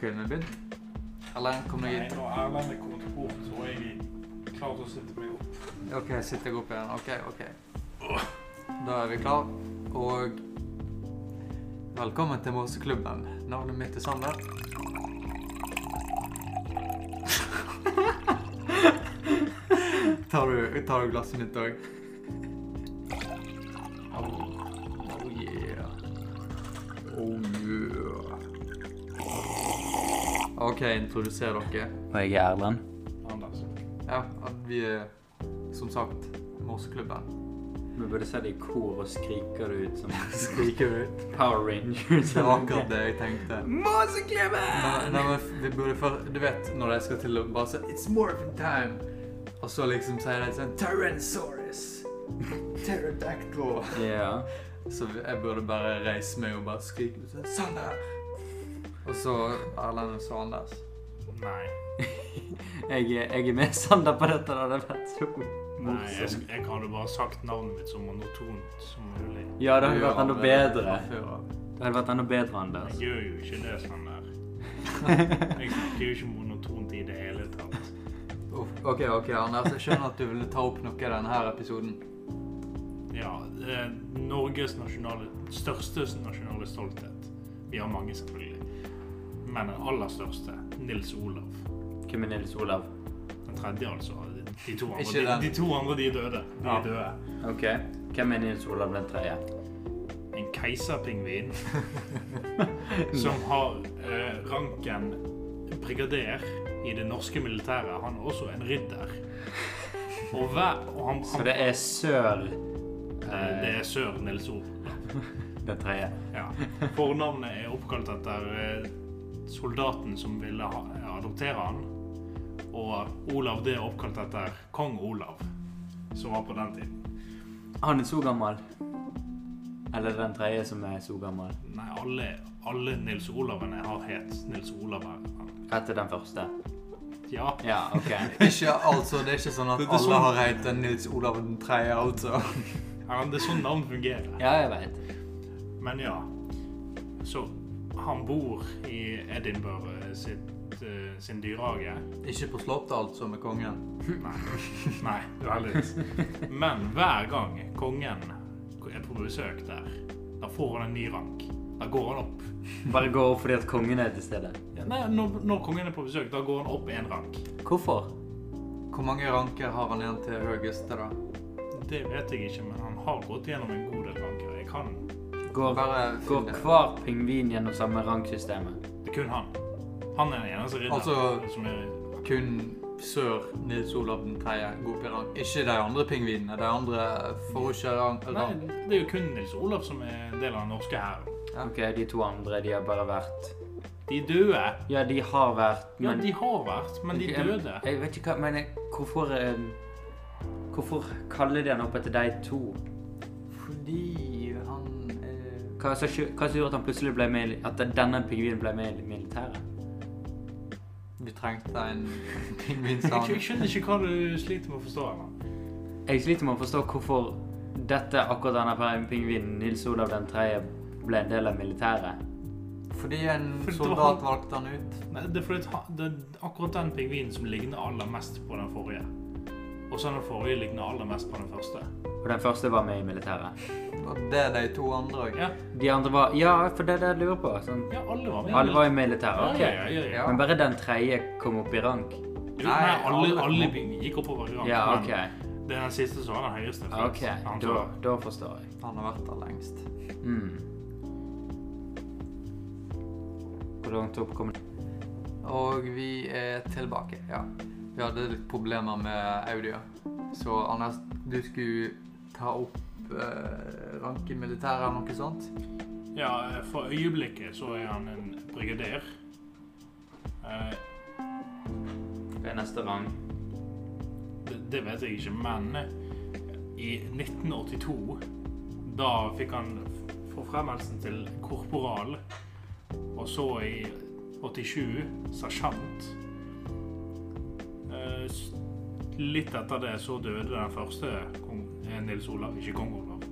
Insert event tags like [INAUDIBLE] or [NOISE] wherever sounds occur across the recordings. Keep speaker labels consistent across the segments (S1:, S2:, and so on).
S1: dere med bud? Eller kom
S2: Nei,
S1: dere hit?
S2: når Erlend er kommet bort, så er jeg klar til å sette meg opp.
S1: Ok, sitter jeg opp igjen. Ok, ok. Da er vi klar, og velkommen til Måseklubben. Navnet mitt er Sander. [LAUGHS] tar, du, tar du glasset mitt òg? Oh, oh yeah. Oh yeah. OK, introduser dere.
S3: Og jeg er Erlend.
S2: Anders.
S1: Ja, at vi er som sagt Måseklubben.
S3: Vi burde se deg i kor og skrike [LAUGHS] det ut som
S1: Skriker vi.
S3: Power [LAUGHS] Rangers.
S1: [LAUGHS] Det var akkurat det jeg tenkte. Nei,
S3: Måseklubben!
S1: nei, men vi burde før, Du vet når de skal til å bare si It's morphin time. Og så liksom sier de sånn Tyrannosaurus. Pterodactyl.
S3: Ja.
S1: Så jeg burde bare reise meg og bare skrike ut sånn Sander! Og så Erlend og så Anders.
S2: Nei.
S3: Jeg, er- jeg er med Sander på dette. Det hadde vært så
S2: Nei, jeg,
S3: morsomt.
S2: jeg hadde bare sagt navnet mitt så monotont som mulig.
S3: Ja, det hadde
S1: Du
S3: vært enda
S1: er
S3: bedre.
S1: fra før av.
S3: Det hadde vært enda bedre,
S2: Jeg
S3: Anders.
S2: gjør jo ikke det sånn der. Jeg snakker jo ikke monotont i det hele tatt.
S1: Uff, OK, ok, Anders. Jeg skjønner at du ville ta opp noe i denne her episoden.
S2: Ja, det er Norges nasjonale, største nasjonale stolthet. Vi har mange, selvfølgelig. Men den aller største, Nils Olav.
S3: Hvem er Nils Olav?
S2: Den tredje, altså. De to andre,
S1: Ikke
S2: de,
S1: den.
S2: de, to andre, de er døde. De
S1: Ja.
S2: er døde.
S3: Ok. Hvem er Nils Olav den tredje?
S2: En keiserpingvin
S3: [LAUGHS]
S2: som har eh, ranken brigader i det norske militæret. Han er også en ridder. Og, hver, og han,
S3: Så
S2: han,
S3: det er Sør
S2: eh, det
S3: eh,
S2: er sør Nils Olav.
S3: den tredje.
S2: Ja. Fornavnet er oppkalt etter eh, soldaten som ville ha, adoptere han. Og Olav det er oppkalt etter kong Olav, som var på den tiden.
S3: Ah, Han er så gammel. Eller den tredje som er så gammel.
S2: Nei, alle, alle Nils Olavene har het Nils Olav her.
S3: Etter den første.
S2: Ja.
S3: Ja, ok.
S1: Ikke altså, Det er ikke sånn at
S2: Det- det er
S1: alle
S2: sånn-
S1: har heit en Nils Olav den tredje, altså.
S2: Erlend, Det er sånn navn fungerer.
S3: Ja, jeg veit.
S2: Men ja. Så han bor i Edinburgh sitt, eh, sin dyrehage.
S1: Ikke på slottet, altså, med kongen.
S2: Nei. Nei, det var litt. Men hver gang kongen er på besøk der, da får han en ny rank. Da går han opp.
S3: Bare gå opp fordi at kongen er til stede.
S2: Ja, Nei, når, når kongen er på besøk, da går han opp en rank.
S3: Hvorfor?
S1: Hvor mange ranker har han igjen til høyeste, da?
S2: Det vet jeg ikke, men han har gått gjennom en god del ranker. Jeg kan
S3: Går,
S1: Bare
S3: går
S1: finn det.
S3: hver pingvin gjennom samme rangsystemet?
S2: Det er kun han. Han er den eneste ridderen
S1: Altså-
S2: som er
S1: Kun sør Nils Olav den tredje går opp i rang. Ikke de andre pingvinene. De andre får ikke rang.
S2: Nei,
S1: rang.
S2: det er jo kun Nils Olav som er en del av den norske hæren.
S3: Ok, De to andre de har bare vært
S2: De døde.
S3: Ja, de har vært,
S2: Ja,
S3: men
S2: de har vært, men de
S3: Jeg-
S2: døde.
S3: Jeg vet ikke hva Men jeg- hvorfor eh, Hvorfor kaller de han opp etter de to?
S1: Fordi han er
S3: Hva som skj- hva som gjorde at han plutselig ble med i- At denne pingvinen ble med i militæret?
S1: Vi trengte
S2: [LAUGHS]
S1: en pingvin, sa
S2: Jeg skjø-
S1: han.
S2: jeg skjønner ikke hva du sliter med å forstå. Eller?
S3: Jeg sliter med å forstå hvorfor dette akkurat denne pe- pingvinen, Nils Olav den tredje, ble en del av militæret.
S1: Fordi en
S2: Fordi det var
S1: soldat
S2: han-
S1: valgte han ut.
S2: Nei, det er fordi at han- det er akkurat den pingvinen som ligner aller mest på den forrige. Og så den forrige ligner aller mest på den første.
S3: Og den første var med i militæret.
S1: Og det er de to andre òg.
S2: Ja,
S3: De andre var Ja, for det er det jeg lurer på. Sånn,
S2: ja alle var med.
S3: alle var i militæret.
S2: Ja,
S3: ok.
S2: ja, ja, ja.
S3: Men bare den tredje kom opp i rank?
S2: Jo,
S1: Nei,
S2: Nei, alle,
S1: alle-
S2: alle pingviner gikk oppover i rang.
S3: Ja,
S2: men
S3: OK.
S2: Det er den siste som var den høyeste. for
S3: Ok,
S2: han
S3: Da,
S2: tror-
S3: da forstår jeg.
S1: Han har vært der lengst.
S3: Mm. Hvor langt opp kom
S1: Og vi er tilbake, ja. Vi hadde litt problemer med audio. Så Anders, du skulle ta opp eh, rank i militæret eller noe sånt?
S2: Ja, for øyeblikket så er han en brigader. Eh,
S3: Hva er neste rang?
S2: Det, det vet jeg ikke, men i 1982 da fikk han forfremmelsen til korporal, og så i 87 sersjant. Eh, s- Litt etter det så døde den første kong, eh, Nils Olav, ikke kong Olav.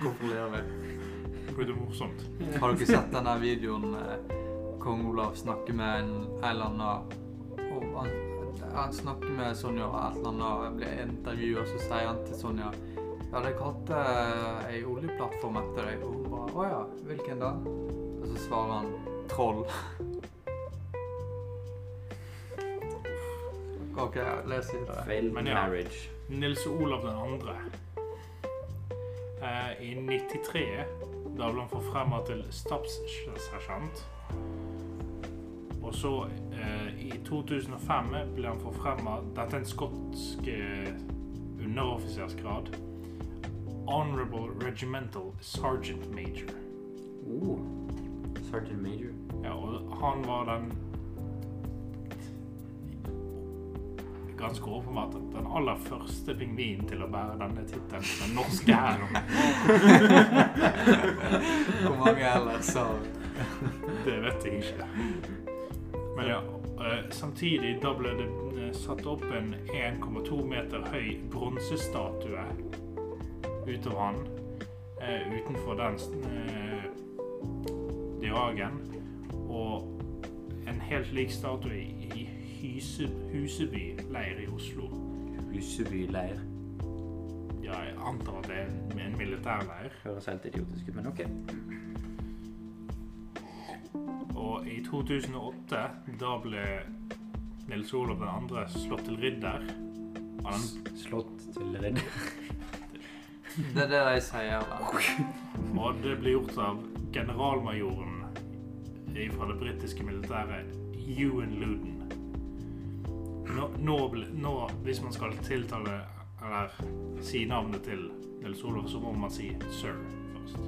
S1: Hvorfor ler vi?
S2: blir det morsomt.
S1: Har dere sett den der videoen eh, kong Olav snakker med en eller annen og han, han snakker med Sonja og et eller annet blir intervjua, så sier han til Sonja Ja, de kalte eh, ei oljeplattform etter deg, og hun bare Å ja, hvilken da? Og så svarer han troll. OK, les videre.
S3: Failed
S2: Men ja.
S3: marriage.
S2: Nils Olav den andre. Eh, I 93 da ble han forfremma til stabssersjant. Og så eh, i 2005 ble han forfremma Dette er en skotsk eh, underoffisersgrad. Honorable Regimental Sergeant Major.
S3: Oh. Sergeant major.
S2: Ja, og han var den Ganske åpenbart den aller første pingvinen til å bære denne tittelen. Den norske hæren.
S1: Hvor mange ellers har
S2: Det vet jeg ikke. Men ja, eh, samtidig da ble det eh, satt opp en 1,2 meter høy bronsestatue utover han. eh, Utenfor den eh, diagen. Og en helt lik statue i i Hyse, Huseby leir i Oslo.
S3: Lusseby leir.
S2: Ja, jeg antar at det er en- en militærleir.
S3: Høres helt idiotisk ut, men OK.
S2: Og i 2008, da ble Nils Olav 2. slått til ridder. av den-
S3: Slått til ridder.
S1: Det er det de sier. da.
S2: Og det ble gjort av generalmajoren fra det britiske militæret, Ewan Luden. Nå, nå, ble, nå, hvis man skal tiltale eller si navnet til Nils Olav, så må man si sir først.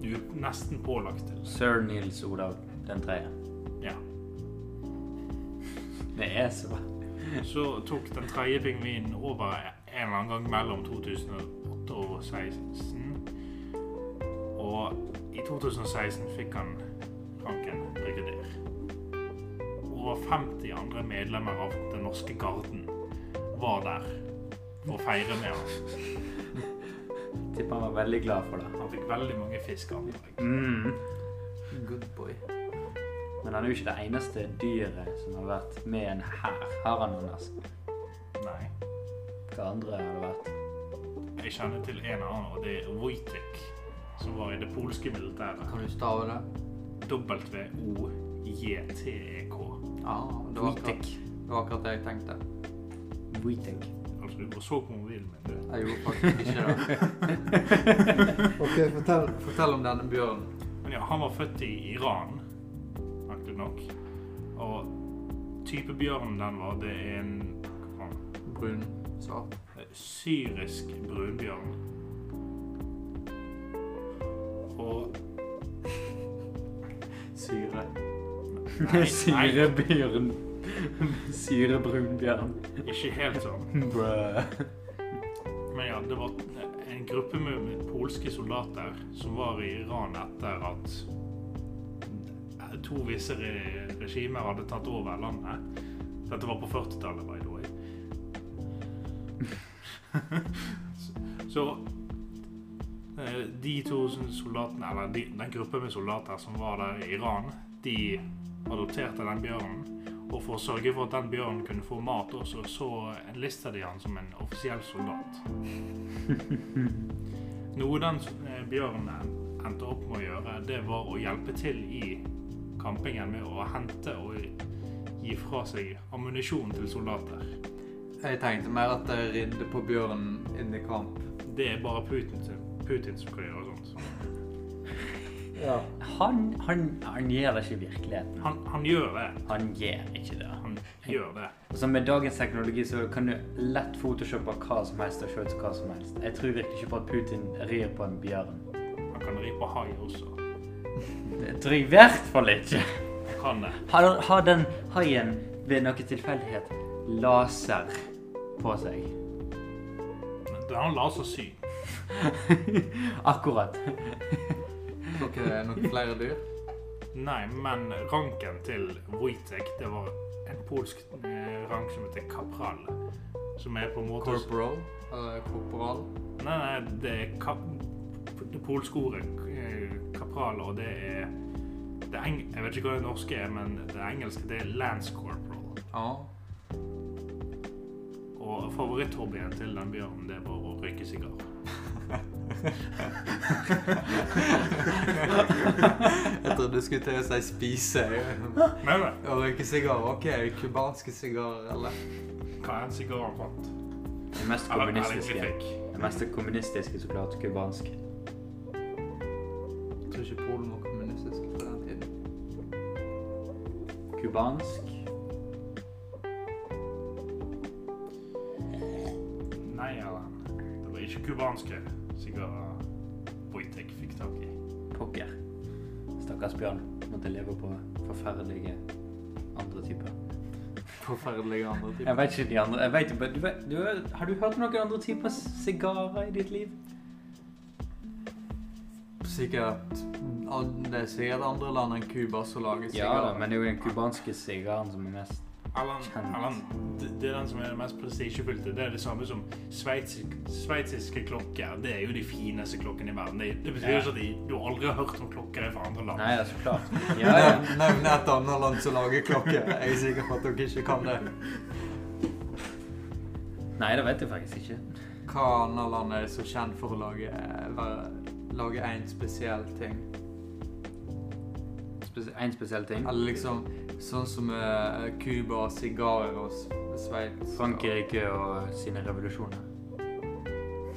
S2: Du er nesten pålagt til det.
S3: Sir Nils Olav den tredje.
S2: Ja.
S3: Det er så
S2: Så tok den tredje pingvinen over en eller annen gang mellom 2008 og 2016. Og i 2016 fikk han ranken brigader. Over 50 andre medlemmer av Den norske garden var der for å feire med ham.
S3: Tipper han var veldig glad for det.
S2: Han fikk veldig mange fisk, antar jeg.
S3: Mm.
S1: Good boy.
S3: Men han er jo ikke det eneste dyret som har vært med en hær. Har han noen altså?
S2: Nei.
S3: Hva andre har det vært?
S2: Jeg kjenner til en annen, og det er Wojtek, som var i det polske militæret.
S1: Kan du stave det?
S2: W-O-J-T-E-K.
S1: Ja, Ah, det var akkurat
S3: Wojtek.
S1: det, var akkurat det jeg tenkte.
S3: Wojtek.
S2: Altså, du så på mobilen min, du.
S1: Jeg gjorde faktisk ikke det. ok, fortell. Fortell om denne bjørnen.
S2: Men ja, han var født i Iran, merkelig nok. Og type bjørn den var, det er en hva faen,
S1: Brun. Svart.
S2: eh, syrisk brunbjørn. Og
S3: [LAUGHS] Syre.
S2: Nei, nei,
S3: [LAUGHS] Syrebjørn. Syrebrunbjørn.
S2: ikke helt sånn.
S3: Brø.
S2: Men ja, det var en gruppe med, med polske soldater som var i Iran etter at to visse re regimer hadde tatt over landet. Dette var på 40-tallet, by the way. [LAUGHS] Så- Så eh, de to soldatene, eller de, den gruppen med soldater som var der i Iran, de adopterte den bjørnen. Og for å sørge for at den bjørnen kunne få mat også, så enlista de han som en offisiell soldat. Noe den eh, bjørnen endte opp med å gjøre, det var å hjelpe til i kampingen med å hente og gi fra seg ammunisjon til soldater.
S1: Jeg tenkte mer at jeg ridde på bjørnen inn i kamp.
S2: Det er bare Putin, som- Putin som kan gjøre sånt.
S1: Ja.
S3: Han, han, han gjør det ikke i virkeligheten.
S2: Han, han gjør det.
S3: Han gjør ikke det.
S2: Han gjør det.
S3: Altså Med dagens teknologi så kan du lett photoshoppe hva som helst og se ut som hva som helst. Jeg tror virkelig ikke på at Putin rir på en bjørn.
S2: Han kan ri på hai også.
S3: Jeg tror i hvert fall ikke.
S2: Han eh, kan det.
S3: Har, har den haien ved noen tilfeldighet laser på seg? [LAUGHS]
S2: Men det- Han lasersyn.
S3: Akkurat.
S1: Tror ikke det er noen eh, flere dyr.
S2: Nei, men ranken til Wojtek, det var en polsk eh, rank som heter kapral. Som er på en måte
S1: Corporal. Eller korporal.
S2: Nei, nei, det er kap... Det polske ordet eh, kapral, og det er det eng Jeg vet ikke hva det norske er, men det engelske det er lance corporal.
S1: Ja.
S2: Og favoritthobbyen til den bjørnen det var å røyke sigar.
S1: Jeg trodde du skulle til å si spise.
S2: Nei, nei.
S1: Å røyke sigar, ok. Cubanske sigarer, eller?
S2: Hva er en sigar han fant?
S3: Det mest
S2: Eller- eller
S3: kommunistiske.
S2: egentlig fikk.
S3: Det mest kommunistiske, så klart, cubansk.
S1: Jeg tror ikke Polen var kommunistisk på den tiden.
S3: Cubansk
S2: Nei, Erlend. Det var ikke kubanske sigarer Wojtek fikk tak i.
S3: pokker. Stakkars bjørn måtte leve på forferdelige andre typer.
S1: Forferdelige andre
S3: Jeg
S1: typer.
S3: vet ikke de andre jeg vet, ikke, du vet, du, vet- Har du hørt om noen andre typer sigarer i ditt liv?
S1: Sikkert an- Det er sikkert andre land enn Cuba som lager sigarer. [LAUGHS]
S3: men det er jo den cubanske sigaren som er mest
S2: Erlend,
S3: Kjent.
S2: Erlend, det, det er den som er det mest prestisjefylte. Det er det samme som sveitsisk- sveitsiske klokker. Det er jo de fineste klokkene i verden. Det, det betyr
S3: Ja.
S2: ikke at de, du har aldri har hørt om klokker fra andre land.
S3: Nei, det er så klart. Ja, ja.
S1: Nevn nevn et annet land som lager klokker. Jeg er sikker på at dere ikke kan det.
S3: Nei, det vet jeg faktisk ikke.
S1: Hva annet land er så kjent for å lage være- lage én spesiell ting?
S3: Spes- En spesiell ting.
S1: Eller liksom sånn som eh, Cuba, sigarer og S- Sveits.
S3: Frankrike og sine revolusjoner.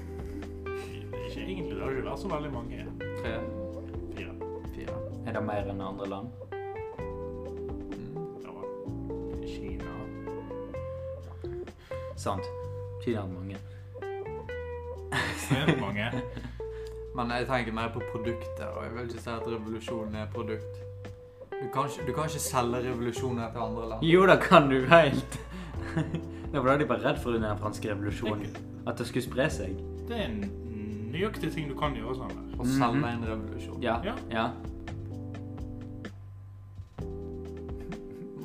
S2: Ikke egentlig. Det har ikke vært så veldig mange.
S1: og Tre,
S2: Fire.
S1: fire.
S3: Er det mer enn andre land?
S1: Mm.
S2: Det var
S3: [LAUGHS]
S2: Kina.
S3: Sant. Tydeligere enn mange.
S2: Ekstremt mange.
S1: Men jeg tenker mer på produkter, og jeg vil ikke si at revolusjonen er et produkt. Du kan, ikke, du kan ikke selge revolusjoner til andre land.
S3: Jo, da kan du helt. [LAUGHS] Det var da de var redd for den franske revolusjonen. At det skulle spre seg.
S2: Det er en nøyaktig ting du kan gjøre sånn der.
S1: Å
S3: Mhm.
S1: selge en revolusjon.
S3: Ja.
S2: Ja.
S3: ja.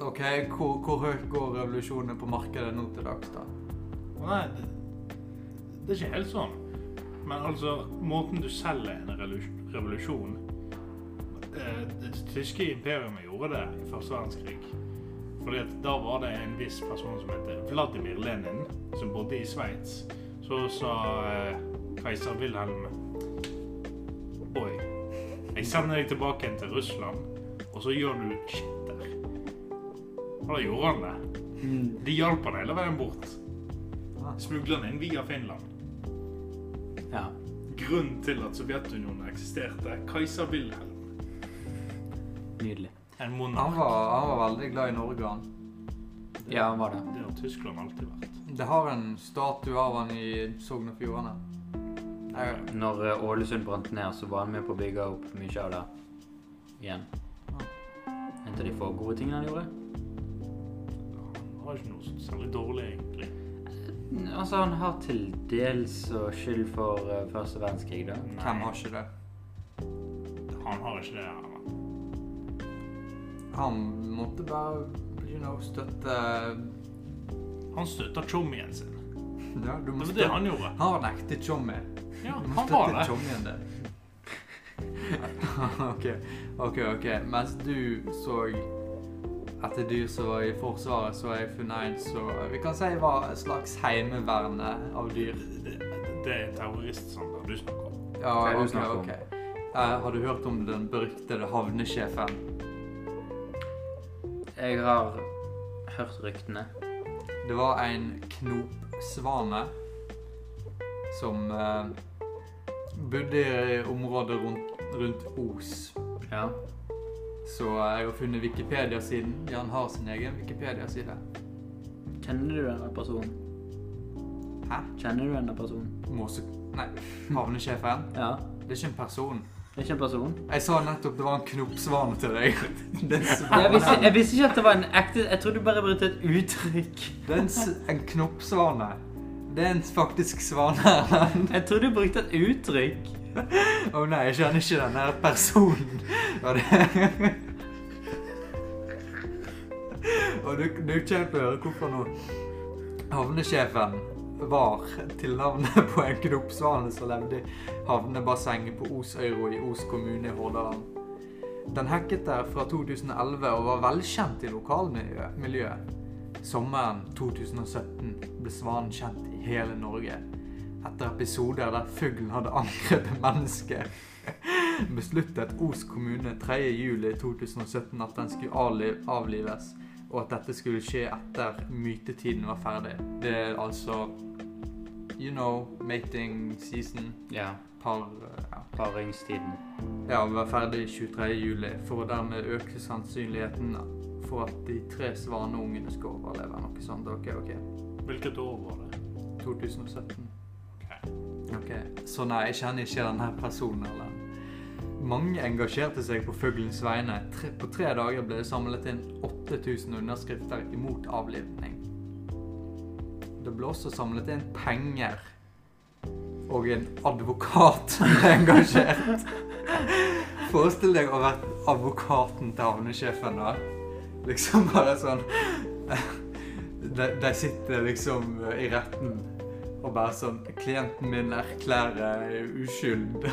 S1: Ok, hvor, hvor høyt går revolusjonen på markedet nå til dags, da?
S2: Nei, det, det er ikke helt sånn. Men altså, måten du selger en revolu- revolusjon eh, Det tyske imperiet gjorde det i første verdenskrig. Fordi at da var det en viss person som heter Vladimir Lenin, som bodde i Sveits. Så sa eh, keiser Wilhelm Oi, jeg sender deg tilbake igjen til Russland, og så gjør du shit der. Og da gjorde han det. De hjalp han hele veien bort.
S1: Ah.
S2: Smuglerne inn via Finland.
S3: ja.
S2: Grunnen til at Sovjetunionen eksisterte. Kaiser Wilhelm.
S3: Nydelig.
S2: En
S1: Han
S2: monark.
S1: var, han var veldig glad i Norge, han.
S3: Ja, han var det.
S2: Det har Tyskland alltid vært.
S1: Det har en statue av han i Sogn og Fjordane. Jeg-
S3: Når eh, Ålesund brant ned, så var han med på å bygge opp mye av det igjen.
S1: Ah.
S3: En av de få gode tingene han gjorde.
S2: Han var ikke noe særlig dårlig, egentlig.
S3: Altså, han har til dels eh, skyld for eh, første verdenskrig, da.
S1: Hvem har ikke det?
S2: Han har ikke det. Erlend.
S1: Han måtte bare, you know, støtte [LAUGHS]
S2: Han støtta chommien sin.
S1: Ja, du må
S2: Det var
S1: støtte
S2: det han gjorde.
S1: Han var en ekte chommy.
S2: Ja,
S1: Du må
S2: han var
S1: støtte
S2: det.
S1: chommyen din. [LAUGHS] OK, OK. ok. Mens du så etter dyr som var i Forsvaret, så har jeg funnet en som vi kan si var et slags heimeverne av dyr.
S2: Det, det er terroristsanger du snakker om.
S1: Ja,
S3: Hva er det du
S1: OK.
S3: snakker om?
S1: ok. Eh, har du hørt om den beryktede havnesjefen?
S3: Jeg har hørt ryktene.
S1: Det var en knopsvane som eh, bodde i området rundt, rundt Os.
S3: Ja.
S1: Så jeg har funnet Wikipedia-siden. Jan har sin egen Wikipedia-side.
S3: Kjenner du denne personen?
S1: Hæ?
S3: Kjenner du denne personen?
S1: Måse... Nei, havnesjefen.
S3: Ja.
S1: Det er ikke en person.
S3: Det er ikke en person.
S1: Jeg sa nettopp det var en knopsvane til deg. Det er en
S3: Jeg visste,
S1: svane.
S3: jeg visste ikke at det var en ekte Jeg trodde du bare brukte et uttrykk.
S1: Det er en, s- en knopsvane. Det er en faktisk svane. Erlend.
S3: Jeg trodde du brukte et uttrykk.
S1: Å nei, jeg kjenner ikke den her personen. Og, det... og du, du kommer til å høre hvorfor nå. Havnesjefen var til navnet på en knopsvane som levde i havnebassenget på Osøyro i Os kommune i Hordaland. Den hekket der fra 2011 og var velkjent i lokalmiljøet. Sommeren 2017 ble svanen kjent i hele Norge etter episoder der fuglen hadde angrepet mennesker [LAUGHS] besluttet Os kommune 3. juli 2017 at den skulle avliv- avlives, og at dette skulle skje etter mytetiden var ferdig. Det er altså You know, mating season,
S3: Ja.
S1: par ja.
S3: Paringstiden.
S1: ja, var ferdig 23. juli, for å dermed øke sannsynligheten for at de tre svaneungene skal overleve. Noe sånt. OK, OK.
S2: Hvilket år var det?
S1: 2017.
S2: Ok.
S1: Ok, Så nei, jeg kjenner ikke denne personen eller Mange engasjerte seg på fuglens vegne. Tre, på tre dager ble det samlet inn 8000 underskrifter imot avlivning. Det ble også samlet inn penger. Og en advokat ble engasjert. Forestill deg å være advokaten til havnesjefen, da. Liksom bare sånn De, de sitter liksom i retten og bare sånn 'Klienten min erklærer uskyld.'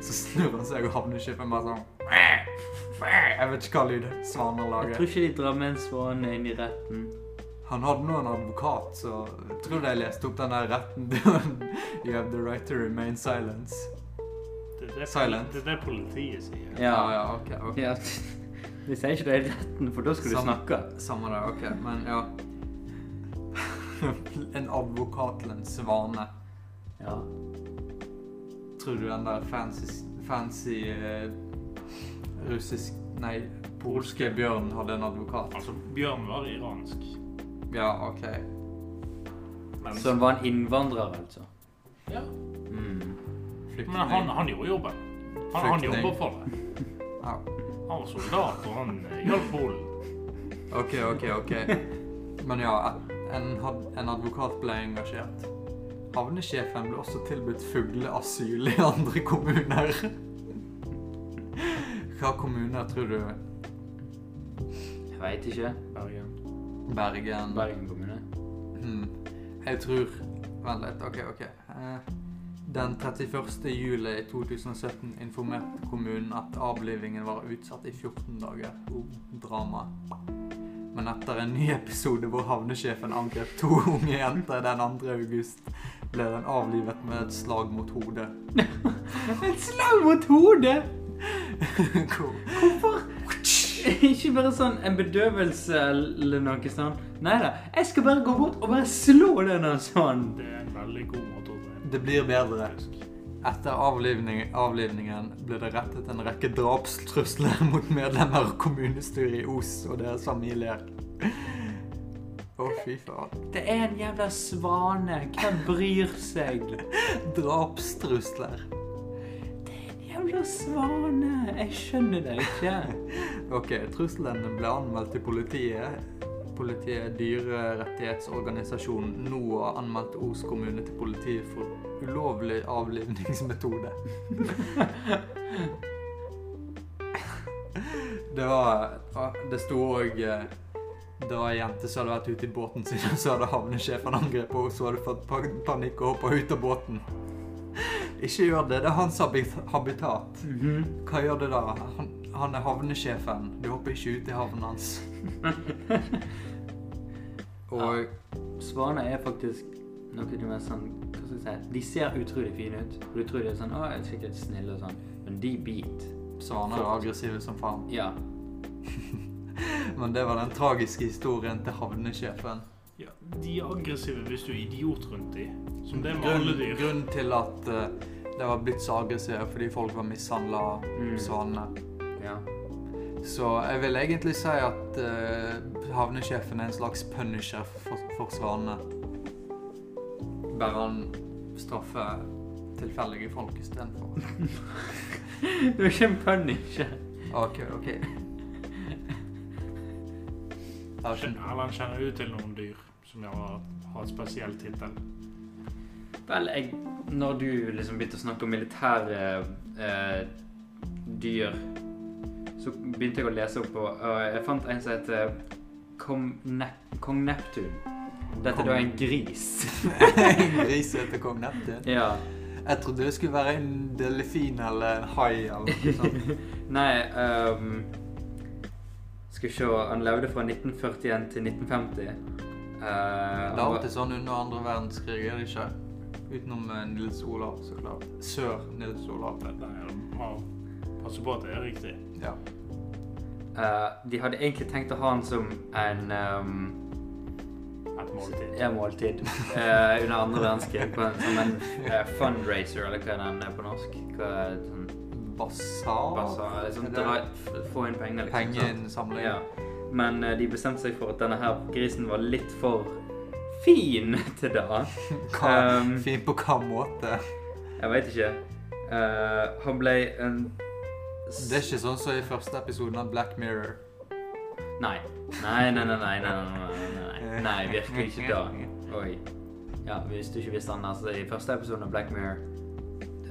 S1: Så snur han seg, og havnesjefen bare sånn «Mæ, mæ». Jeg vet ikke hva lyd svaner
S3: Jeg tror
S1: lager.
S3: ikke de drar med en svane inn i retten.
S1: Han hadde nå en advokat, så jeg tror de leste opp den der retten [LAUGHS] til han. You have the right to remain silence.
S2: Det er det,
S1: Silent.
S2: Det er det politiet sier.
S1: Ja, ja, ok. ok.
S3: Ja, De sier ikke det i retten, for da skulle du
S1: Samme-
S3: snakke.
S1: Samme det, ok. Men ja. [LAUGHS] en advokat til en svane.
S3: Ja.
S1: Tror du den der fancy, fancy eh, russisk Nei, polske bjørnen hadde en advokat?
S2: Altså, Bjørn var iransk.
S1: Ja, ok.
S2: Men,
S3: Så han var en innvandrer, altså.
S2: ja.
S3: Mm.
S2: men han, han gjorde jobben. Han, han
S1: Flyktning.
S2: jobba for det.
S1: [LAUGHS] Ja.
S2: Han var soldat, og han eh, hjalp Polen.
S1: Ok, ok, ok. Men ja, en, had- en advokat ble engasjert. Havnesjefen ble også tilbudt fugleasyl i andre kommuner. Hva kommuner tror du?
S3: Jeg veit ikke. Bergen.
S1: Bergen?
S3: Bergen kommune.
S1: Hmm. Jeg tror Vent litt. OK, OK. Eh, Den 31. juli 2017 informerte kommunen at avlivingen var utsatt i 14 dager. Oh, drama. Men etter en ny episode hvor havnesjefen angrep to unge jenter den 2. august, ble den avlivet med et slag mot hodet. [LAUGHS]
S3: Et slag mot hodet!
S1: Hvor-
S3: Hvorfor? Ikke bare sånn en bedøvelse eller noe sånt. Nei da. Jeg skal bare gå bort og bare slå denne sånn.
S2: Det er en veldig god måte å drepe
S1: Det blir bedre.
S2: fisk.
S1: Etter avlivning, avlivningen ble det rettet en rekke drapstrusler [LAUGHS] mot medlemmer av kommunestyret i Os og deres familier. Å, fy faen.
S3: Det er en jævla svane. Hvem bryr seg?
S1: Drapstrusler.
S3: En jævla svane. Jeg skjønner det ikke.
S1: Ok, truslene ble anmeldt til politiet. Politiet Dyrerettighetsorganisasjonen NOAH anmeldte Os kommune til politiet for ulovlig avlivningsmetode. [LAUGHS] Det var Det sto òg Det var ei jente som hadde vært ute i båten sin, og så hadde havnesjefen angrepet henne, og så hadde hun fått pa- panikk og hoppa ut av båten. [LAUGHS] Ikke gjør det. Det er hans habit- habitat.
S3: Mhm.
S1: Hva gjør det da? Han, han er havnesjefen. Du hopper ikke ut i havnen hans. Og
S3: Svaner er faktisk noe du er sånn Hva skal jeg si? De ser utrolig fine ut. Og du tror de er sånn Å, jeg er sikkert snille og sånn. Men de biter.
S1: svaner er aggressive som faen.
S3: Ja.
S1: Men det var den tragiske historien til havnesjefen.
S2: Ja, de er aggressive hvis du er idiot rundt dem. Som det er med alle
S1: Grunnen
S2: dyr.
S1: grunnen til at eh, det var blitt så aggressive fordi folk var mishandla av
S3: Mm.
S1: svanene.
S3: Ja.
S1: Så jeg vil egentlig si at eh, havnesjefen er en slags punisher for, for svanene. Bare han straffer tilfeldige folk istedenfor.
S3: Du er ikke en punisher.
S1: Ok, ok. Jeg [LAUGHS]
S2: Skjønner-
S1: skjønner.
S2: Eller han kjenner ut til noen dyr som gjør at- har et spesielt tittel.
S3: Vel, jeg, når du liksom begynte å snakke om militære eh, dyr, så begynte eh, jeg å lese opp, og, og jeg fant en som heter Kong, ne Kong Neptun. Dette er da en gris.
S1: [LAUGHS] en gris heter kong Neptun.
S3: ja.
S1: Jeg trodde det skulle være en delfin eller en hai eller noe
S3: [LAUGHS]
S1: sånt.
S3: Nei ehm, Skal vi se Han levde fra 1941 til 1950. Eh, han
S1: Det er
S3: var-
S1: alltid sånn under andre verdenskrig, er det ikke? Utenom eh, Nils Olav, så klart. Sør Nils Olav.
S2: Dette er må passe på at det er riktig.
S1: Ja.
S3: eh, de hadde egentlig tenkt å ha han som en ehm,
S2: Et måltid.
S3: Ja, måltid. Eh, under andre verdenskrig. på en- Som en eh, fundraiser, eller hva er den er på norsk? Hva er det, sånn,
S1: Basar?
S3: basar, liksom,
S1: Er det-
S3: dra, f- få inn penger, liksom. sant?
S1: Pengeinnsamling.
S3: Ja. Men eh, de bestemte seg for at denne her grisen var litt for fin [LAUGHS] til det.
S1: Hva,
S3: Um,
S1: fint på hva måte?
S3: Jeg veit ikke. Eh, han ble en s-
S1: Det er ikke sånn som i første episoden av Black Mirror.
S3: Nei. Nei, nei, nei, nei, nei, nei, nei, nei. nei virkelig ikke da. Oi. Ja, hvis du ikke visste han, altså, i første episode av Black Mirror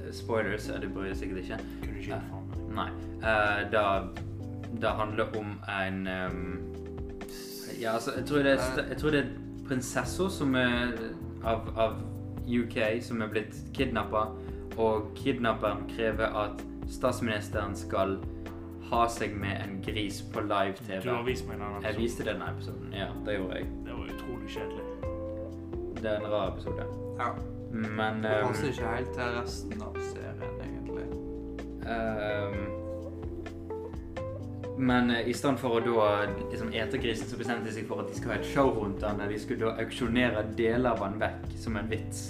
S3: eh, Spoilers, eh, det bryr jeg sikkert ikke.
S2: Kunne ikke gitt faen.
S3: Nei. Eh, da Det handler om en ehm, Ja, altså, jeg tror det er, st- jeg tror det er prinsesser som er av, av UK som er blitt kidnappa, og kidnapperen krever at statsministeren skal ha seg med en gris på
S2: Du har
S3: live-TV.
S2: vist meg denne
S3: Jeg
S2: episoden.
S3: viste denne episoden. Ja, det gjorde jeg.
S2: Det var utrolig kjedelig.
S3: Det er en rar episode.
S1: Ja.
S3: Men
S1: Det
S3: ehm,
S1: passer ikke helt til resten av serien, egentlig.
S3: Ehm, men eh, i stedet for å da liksom, ete grisen, så bestemte de seg for at de skulle ha et show rundt den. der De skulle da auksjonere deler av den vekk som en vits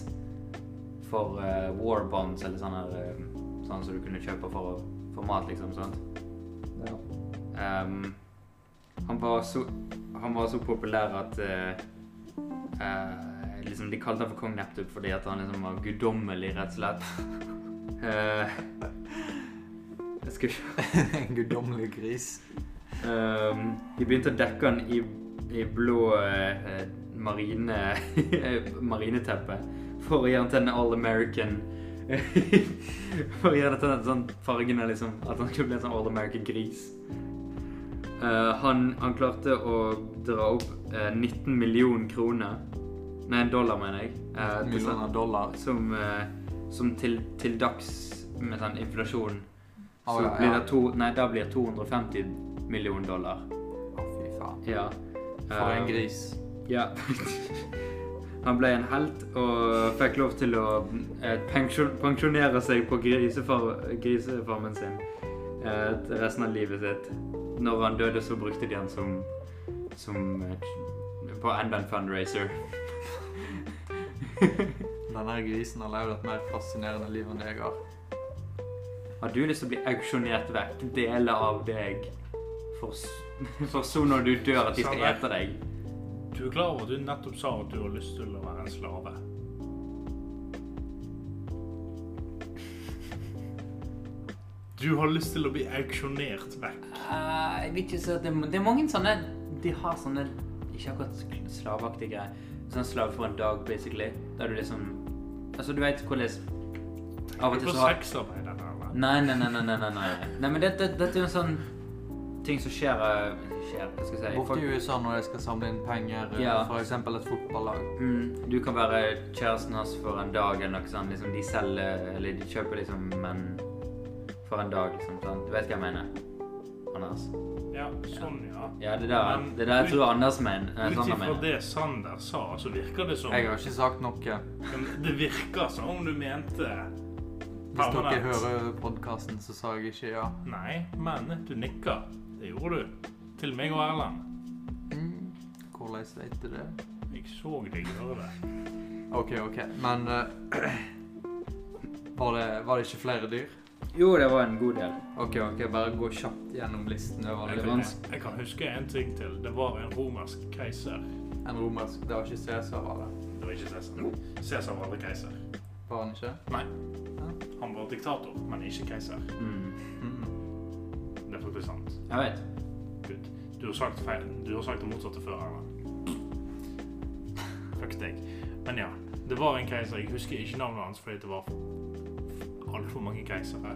S3: for eh, war bonds, eller sånne, eh, sånn som du kunne kjøpe for, å- for mat, liksom. sant?
S1: Ja.
S3: Ehm, han, var så, han var så populær at eh, eh, liksom de kalte han for kong Neptun fordi at han liksom var guddommelig, rett og slett. [LAUGHS] Eh, jeg skal ikke
S1: en guddommelig gris.
S3: Ehm, De begynte å dekke han i, i blå eh, eh, marine [LAUGHS] marineteppe for å gjøre han til en all-American. [LAUGHS] for å gjøre det til den sånn fargen er liksom At han skulle bli en sånn all-American gris. Eh, han, han klarte å dra opp eh, 19 millioner kroner Nei, dollar, mener jeg. eh, til sånn-
S1: Millioner dollar.
S3: som, eh, som til, til dags med sånn inflasjon
S1: Å,
S3: så
S1: ja,
S3: blir
S1: ja.
S3: det to, nei, da blir det 250 millioner dollar.
S1: Å, fy faen.
S3: Ja.
S1: For en
S3: Eh,
S1: gris.
S3: Ja. [LAUGHS] Han ble en helt og fikk lov til å eh, pensjon, pensjonere seg på grisefar, grisefarmen sin eh, til resten av livet sitt. Når han døde, så brukte de han som, som eh, på enda en fundraiser.
S1: Denne grisen har levd et mer fascinerende liv enn jeg har.
S3: Har du lyst til å bli auksjonert vekk, deler av deg, for, s- [LAUGHS] for så når du dør at de skal
S2: Samme.
S3: ete deg?
S2: Du er klar over at du nettopp sa at du har lyst til å være en slave. Du har lyst til å bli auksjonert vekk.
S3: Eh, jeg vet ikke, så det, det er mange sånne De har sånne ikke akkurat sl- slaveaktige greier. Sånn slave for en dag, basically. Der du liksom Altså, du vet hvordan Av og
S2: Du får
S3: til så har
S2: sexarbeid av det, eller?
S3: Nei, nei, nei, nei, nei, nei, nei. nei men dette det, dette er jo en sånn ting som skjer, eh, skjer Hva skal jeg si?
S1: Borte i USA når jeg skal samle inn penger, eh,
S3: Ja.
S1: for eksempel et fotballag.
S3: Mm, du kan være kjæresten hans for en dag eller noe sånt. Liksom, de selger, eller de kjøper liksom menn for en dag, liksom. Sant? Du vet hva jeg mener? Anders?
S1: Mm.
S2: Ja, sånn, ja.
S3: Ja, det der,
S2: Men
S3: det der jeg
S2: ut-
S3: tror Anders mener. eh,
S2: Ut
S3: Sander
S2: ifra
S3: mener.
S2: det Sander sa, så virker det som
S1: sånn, Jeg har ikke sagt noe.
S2: Men Det virker som om du mente
S1: Hvis dere
S2: permanent.
S1: hører podkasten, så sa jeg ikke ja.
S2: Nei, men du nikka. Det gjorde du. Til meg og Erlend.
S1: Mm. Hvordan vet du det?
S2: Jeg så deg gjøre det.
S1: OK, OK. Men eh, [CLEARS THROAT] var, det, var det ikke flere dyr?
S3: Jo, det var en god del.
S1: OK, ok, bare gå kjapt gjennom listen. Det var
S3: Veldig
S2: Jeg
S1: litt
S2: kan,
S3: vanskelig.
S2: jeg kan huske en ting til. Det var en romersk keiser.
S1: En romersk Det var ikke Cæsar, var det?
S2: Det var ikke Cæsar. Cæsar var aldri keiser.
S1: Var han ikke?
S2: Nei. Han var diktator, men ikke keiser.
S3: Mm.
S1: Mm.
S2: Det er faktisk sant.
S3: Jeg vet.
S2: Gud. Du har sagt feil. Du har sagt det motsatte før, Erlend. Fuck deg. Men ja. Det var en keiser. Jeg husker ikke navnet hans fordi det var altfor mange keisere.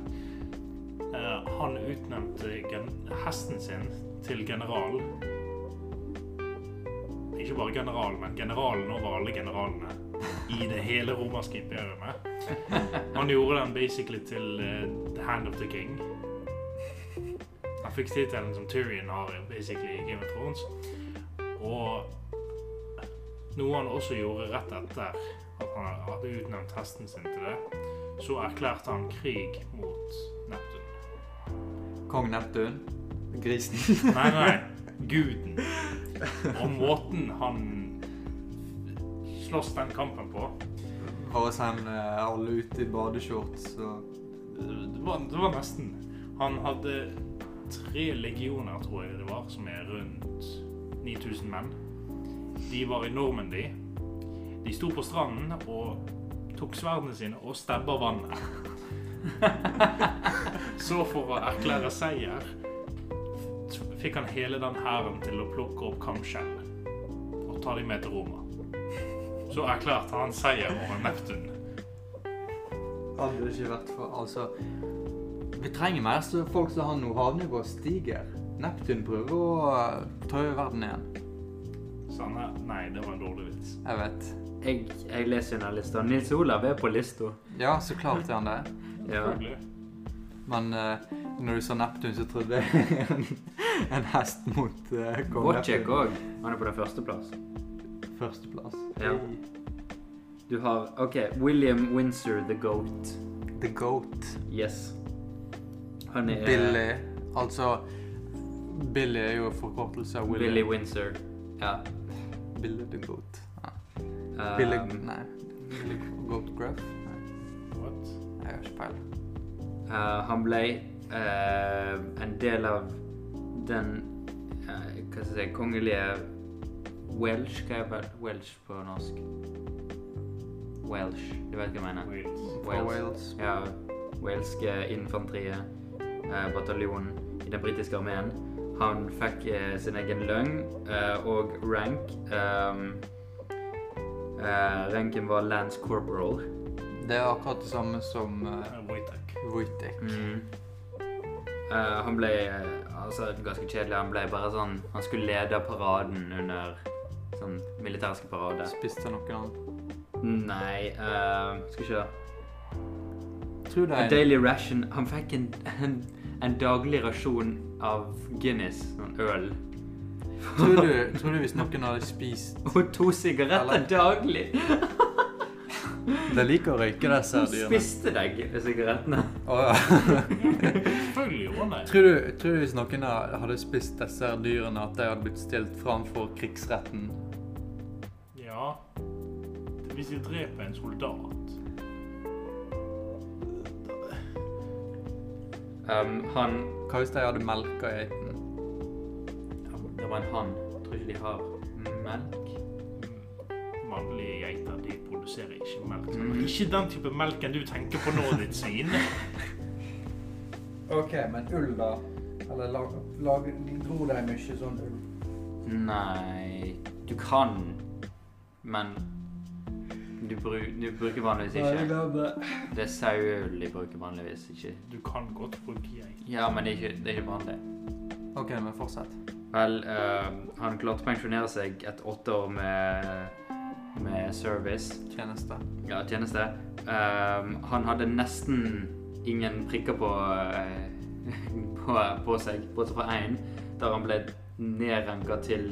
S2: Eh, han utnevnte gen hesten sin til general. Ikke ikke bare general, men generalen over alle generalene i det hele romerske imperiet. Han gjorde den basically til eh, The Hand of the King. Han fikk tittelen som Tyrion har basically i Game of Thrones. Og noe han også gjorde rett etter at han hadde utnevnt hesten sin til det, så erklærte han krig mot Neptun.
S1: Kong Neptun. Grisen.
S2: Nei,
S1: [LAUGHS]
S2: nei. Guden. Og måten han slåss den kampen på
S1: Bare send eh, alle ut i badeshorts og
S2: Det var, det var nesten Han hadde tre legioner, tror jeg det var, som er rundt 9000 menn. De var i Normandy. De sto på stranden og tok sverdene sine og stabba vannet. [LAUGHS] Så for å erklære seier f- fikk han hele den hæren til å plukke opp kamskjell og ta dem med til Roma. Så erklærte han seier over Neptun.
S1: Hadde det ikke vært for Altså, vi trenger mer så folk som har noe havnivået stiger. Neptun prøver å eh, ta over verden igjen.
S2: Så han er Nei, det var en dårlig vits.
S1: Jeg vet.
S3: Jeg, jeg leser under lista. Nils Olav er på lista.
S1: Ja, så klart er han det.
S3: Ja.
S2: Selvfølgelig.
S1: Men eh, når du sa Neptun, så trodde jeg [LAUGHS] en, en hest mot uh, kong
S3: Wojciech òg. Han er på den første plass.
S1: Førsteplass.
S3: Ja. Du har OK, William Windsor the Goat.
S1: The Goat.
S3: Yes. Han
S2: eh,
S3: er eh,
S1: Billy. Altså Billy er jo forkortelse av
S3: Billy
S1: William.
S3: Windsor. Ja.
S1: Billy the Goat. Ja.
S3: Um,
S1: Billy Ehm, Nei. Billy Goat Gruff? Nei,
S2: What?
S1: jeg har ikke peiling.
S3: Eh, han ble eh, en del av den eh, Hva skal jeg si Kongelige Welsh Hva er vel- Welsh på norsk? Welsh. Du vet hva jeg mener?
S2: Wales.
S1: Fra
S3: Wales.
S1: Wales.
S3: Ja, Waleske infanteriet, eh, bataljonen i den britiske armeen. Han fikk eh, sin egen løgn eh, og rank. Um, eh, ranken var Lance Corporal.
S1: Det er akkurat det samme som uh,
S2: Eh, Wojtek.
S1: Wojtek.
S3: Mm. Eh, han ble eh, altså, ganske kjedelig. Han ble bare sånn Han skulle lede paraden under sånn militærske parade.
S1: Spiste han noen annen?
S3: Nei eh, Skal ikke
S1: Tror det
S3: A
S1: er en
S3: daily ration Han fikk en, en, en daglig rasjon av Guinness, sånn øl.
S1: tror du, tror du hvis noen hadde spist
S3: Og to sigaretter
S1: Eller-
S3: daglig!
S1: De liker å røyke disse
S3: Hun spiste deg sigarettene.
S1: ja. [LAUGHS]
S2: Selvfølgelig gjorde han det.
S1: tror, du, tror du hvis noen hadde spist disse her dyrene, at de hadde blitt stilt framfor krigsretten?
S2: Ja. Hvis de dreper en soldat
S3: Um, han
S1: Hva hvis de hadde melka geiten?
S3: Det var en han. Jeg tror ikke de har melk.
S2: mm, Mannlige geiter de produserer ikke melk.
S3: Mm.
S2: Ikke den type melken du tenker på nå, ditt svin.
S1: OK, men ull, da? Eller lag, de dro deg mye sånn ull?
S3: Nei Du kan, men du, bru, du bruker vanligvis ikke Det er saueøl de bruker vanligvis ikke.
S2: Du kan godt bruke geit.
S3: Ja, men det er ikke, det er ikke vanlig.
S1: OK, men fortsett.
S3: Vel, eh, han klarte å pensjonere seg etter åtte år med, med service,
S1: Tjeneste.
S3: ja, tjeneste. Eh, han hadde nesten ingen prikker på, eh, [LAUGHS] på, på seg, bortsett fra én, der han ble nedranka til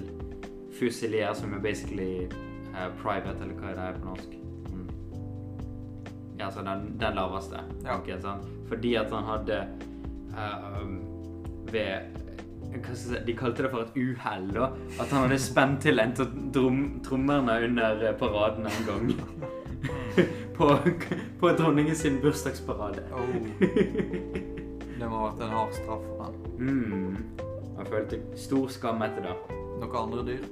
S3: fusilier, som er basically eh, private, eller hva er det på norsk? Mm. Ja, altså den, den laveste.
S1: Ja.
S3: Ok, sant? Fordi at han hadde eh, ved hva skal jeg si, de kalte det for et uhell, da. At han hadde spent til en av trom, trommerne under eh, paraden en gang. [LAUGHS] på, på dronningen sin bursdagsparade.
S1: Oh, det må ha vært en hard straff for han.
S3: Mm. Han følte stor skam etter det.
S1: Noen andre dyr?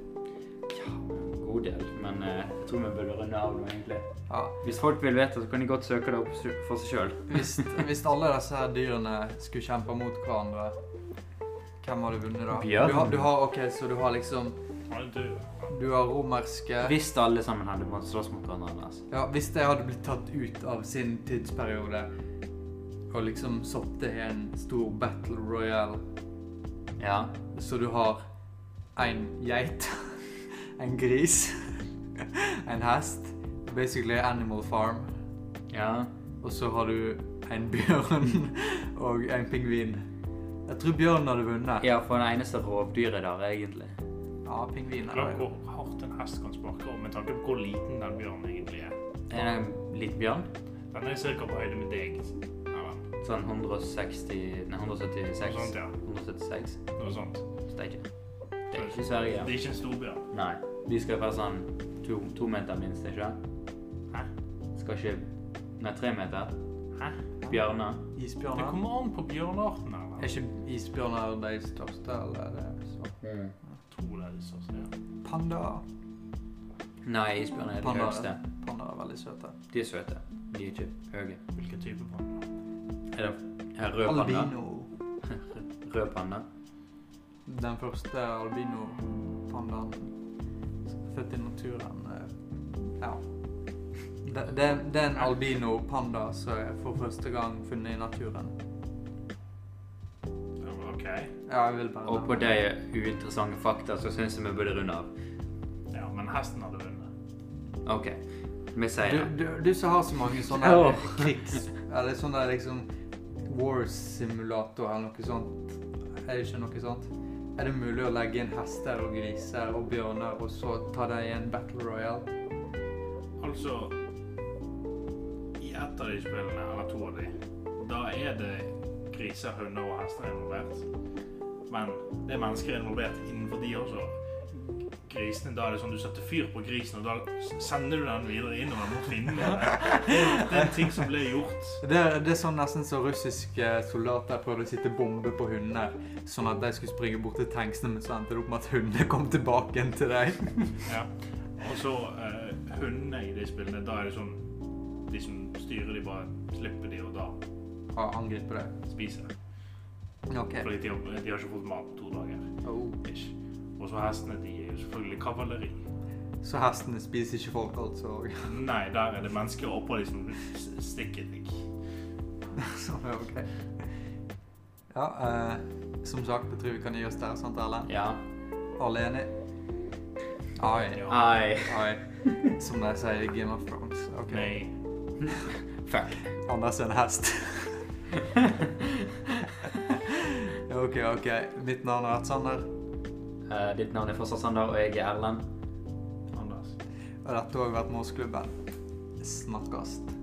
S3: Ja, en god del, men eh, jeg tror vi burde runde av nå, egentlig.
S1: Ja.
S3: Hvis folk vil vite, så kan de godt søke det opp su- for seg sjøl.
S1: Hvis, hvis alle disse her dyrene skulle kjempe mot hverandre, hvem hadde vunnet da?
S3: Bjørn.
S1: Du har, du har, ok, så du har liksom
S2: Han er død.
S1: Du har romerske
S3: Hvis alle sammen hadde måttet slåss mot hverandre altså. ellers.
S1: ja, Hvis de hadde blitt tatt ut av sin tidsperiode og liksom satt det i en stor battle royale,
S3: Ja.
S1: så du har én geit [LAUGHS] en gris, [LAUGHS] en hest, basically Animal Farm,
S3: Ja.
S1: og så har du en
S3: [LAUGHS]
S1: bjørn og en pingvin. Jeg tror bjørnen hadde vunnet.
S3: ja, for det eneste rovdyret der, egentlig.
S1: Ja, pingvin er
S2: Eller
S1: det.
S2: hvor hardt en hest kan sparke, og med tanke på hvor liten den bjørnen egentlig er.
S3: Er det en liten bjørn?
S2: Den er cirka på høyde med deg. Eller
S3: Sånn 160 Nei,
S2: Noe
S3: 176.
S2: sånt, ja.
S3: 176.
S2: noe sånt.
S3: Så det er ikke Det er ikke Sverige.
S2: Det er ikke en stor bjørn.
S3: Nei. De skal være sånn to, to meter minst, ikke
S2: Hæ?
S3: Skal ikke Nei, tre meter.
S2: Hæ?
S3: Bjørner.
S2: Det
S1: Isbjørner.
S2: kommer an på bjørnearten, eller?
S1: Er ikke isbjørner de største, eller er det så?
S2: Jeg tror det er de største, altså. ja.
S1: Panda.
S3: Nei, isbjørner er de
S1: Panda.
S3: høyeste.
S1: Panda er veldig søte.
S3: De er søte. De er ikke høye.
S2: Hvilken type panda?
S3: Er det er rød panda?
S1: Albino.
S3: Rød panda?
S1: Den første albino-pandaen født i naturen. eh, Ja. Det, det, det er en albino-panda som er for første gang funnet i naturen.
S2: Ja, men OK.
S1: Ja, jeg vil bare
S3: Og på de uinteressante fakta så syns jeg vi burde runde av.
S2: Ja, men hesten hadde vunnet.
S3: OK. Vi sier
S1: Du,
S3: det.
S1: du, du som har så mange sånne
S3: Åh.
S1: [LAUGHS] krigs... Eller sånne liksom War-simulator eller noe sånt. Er det ikke noe sånt? Er det mulig å legge inn hester og griser og bjørner og så ta dem i en battle royale?
S2: Altså I ett av de spillene, eller to av de, da er det griser, hunder og hester involvert. Men det er mennesker involvert innenfor de også. Grisene, da er det sånn du setter fyr på grisen, og da s- sender du den videre innover mot fienden. Det, er- det er ting som ble gjort.
S1: Det, det er sånn nesten så russiske soldater prøvde å sitte bombe på hunder, sånn at de skulle springe bort til tanksene, men så endte det opp med at hundene kom tilbake igjen til dem.
S2: Ja. Og så eh, hundene i de spillene, da er det sånn De som styrer de bare slipper de, og da
S1: Og angriper dem.
S2: spiser de.
S1: OK.
S2: Fordi de har, de har ikke fått mat på to dager.
S1: Oh.
S2: Ish. Og så hestene, de er jo selvfølgelig kavaleri.
S1: Så hestene spiser ikke folk, altså?
S2: Nei, der er det mennesker oppå de som s- stikker deg.
S1: [LAUGHS] Som er ok. Ja, eh, som sagt, jeg tror vi kan gi oss der, sant, Erlend?
S3: Ja.
S1: Alle enig? Ai,
S3: Ai.
S1: ai. Som de sier i Game of Thrones. Ok.
S2: Nei.
S3: Fuck.
S1: Anders er en hest. [LAUGHS] ok, ok. Mitt navn har vært Sander,
S3: Eh, ditt navn er fortsatt Sander, og jeg er Erlend.
S2: Anders.
S1: og dette har også vært Morsklubben. Snakkast.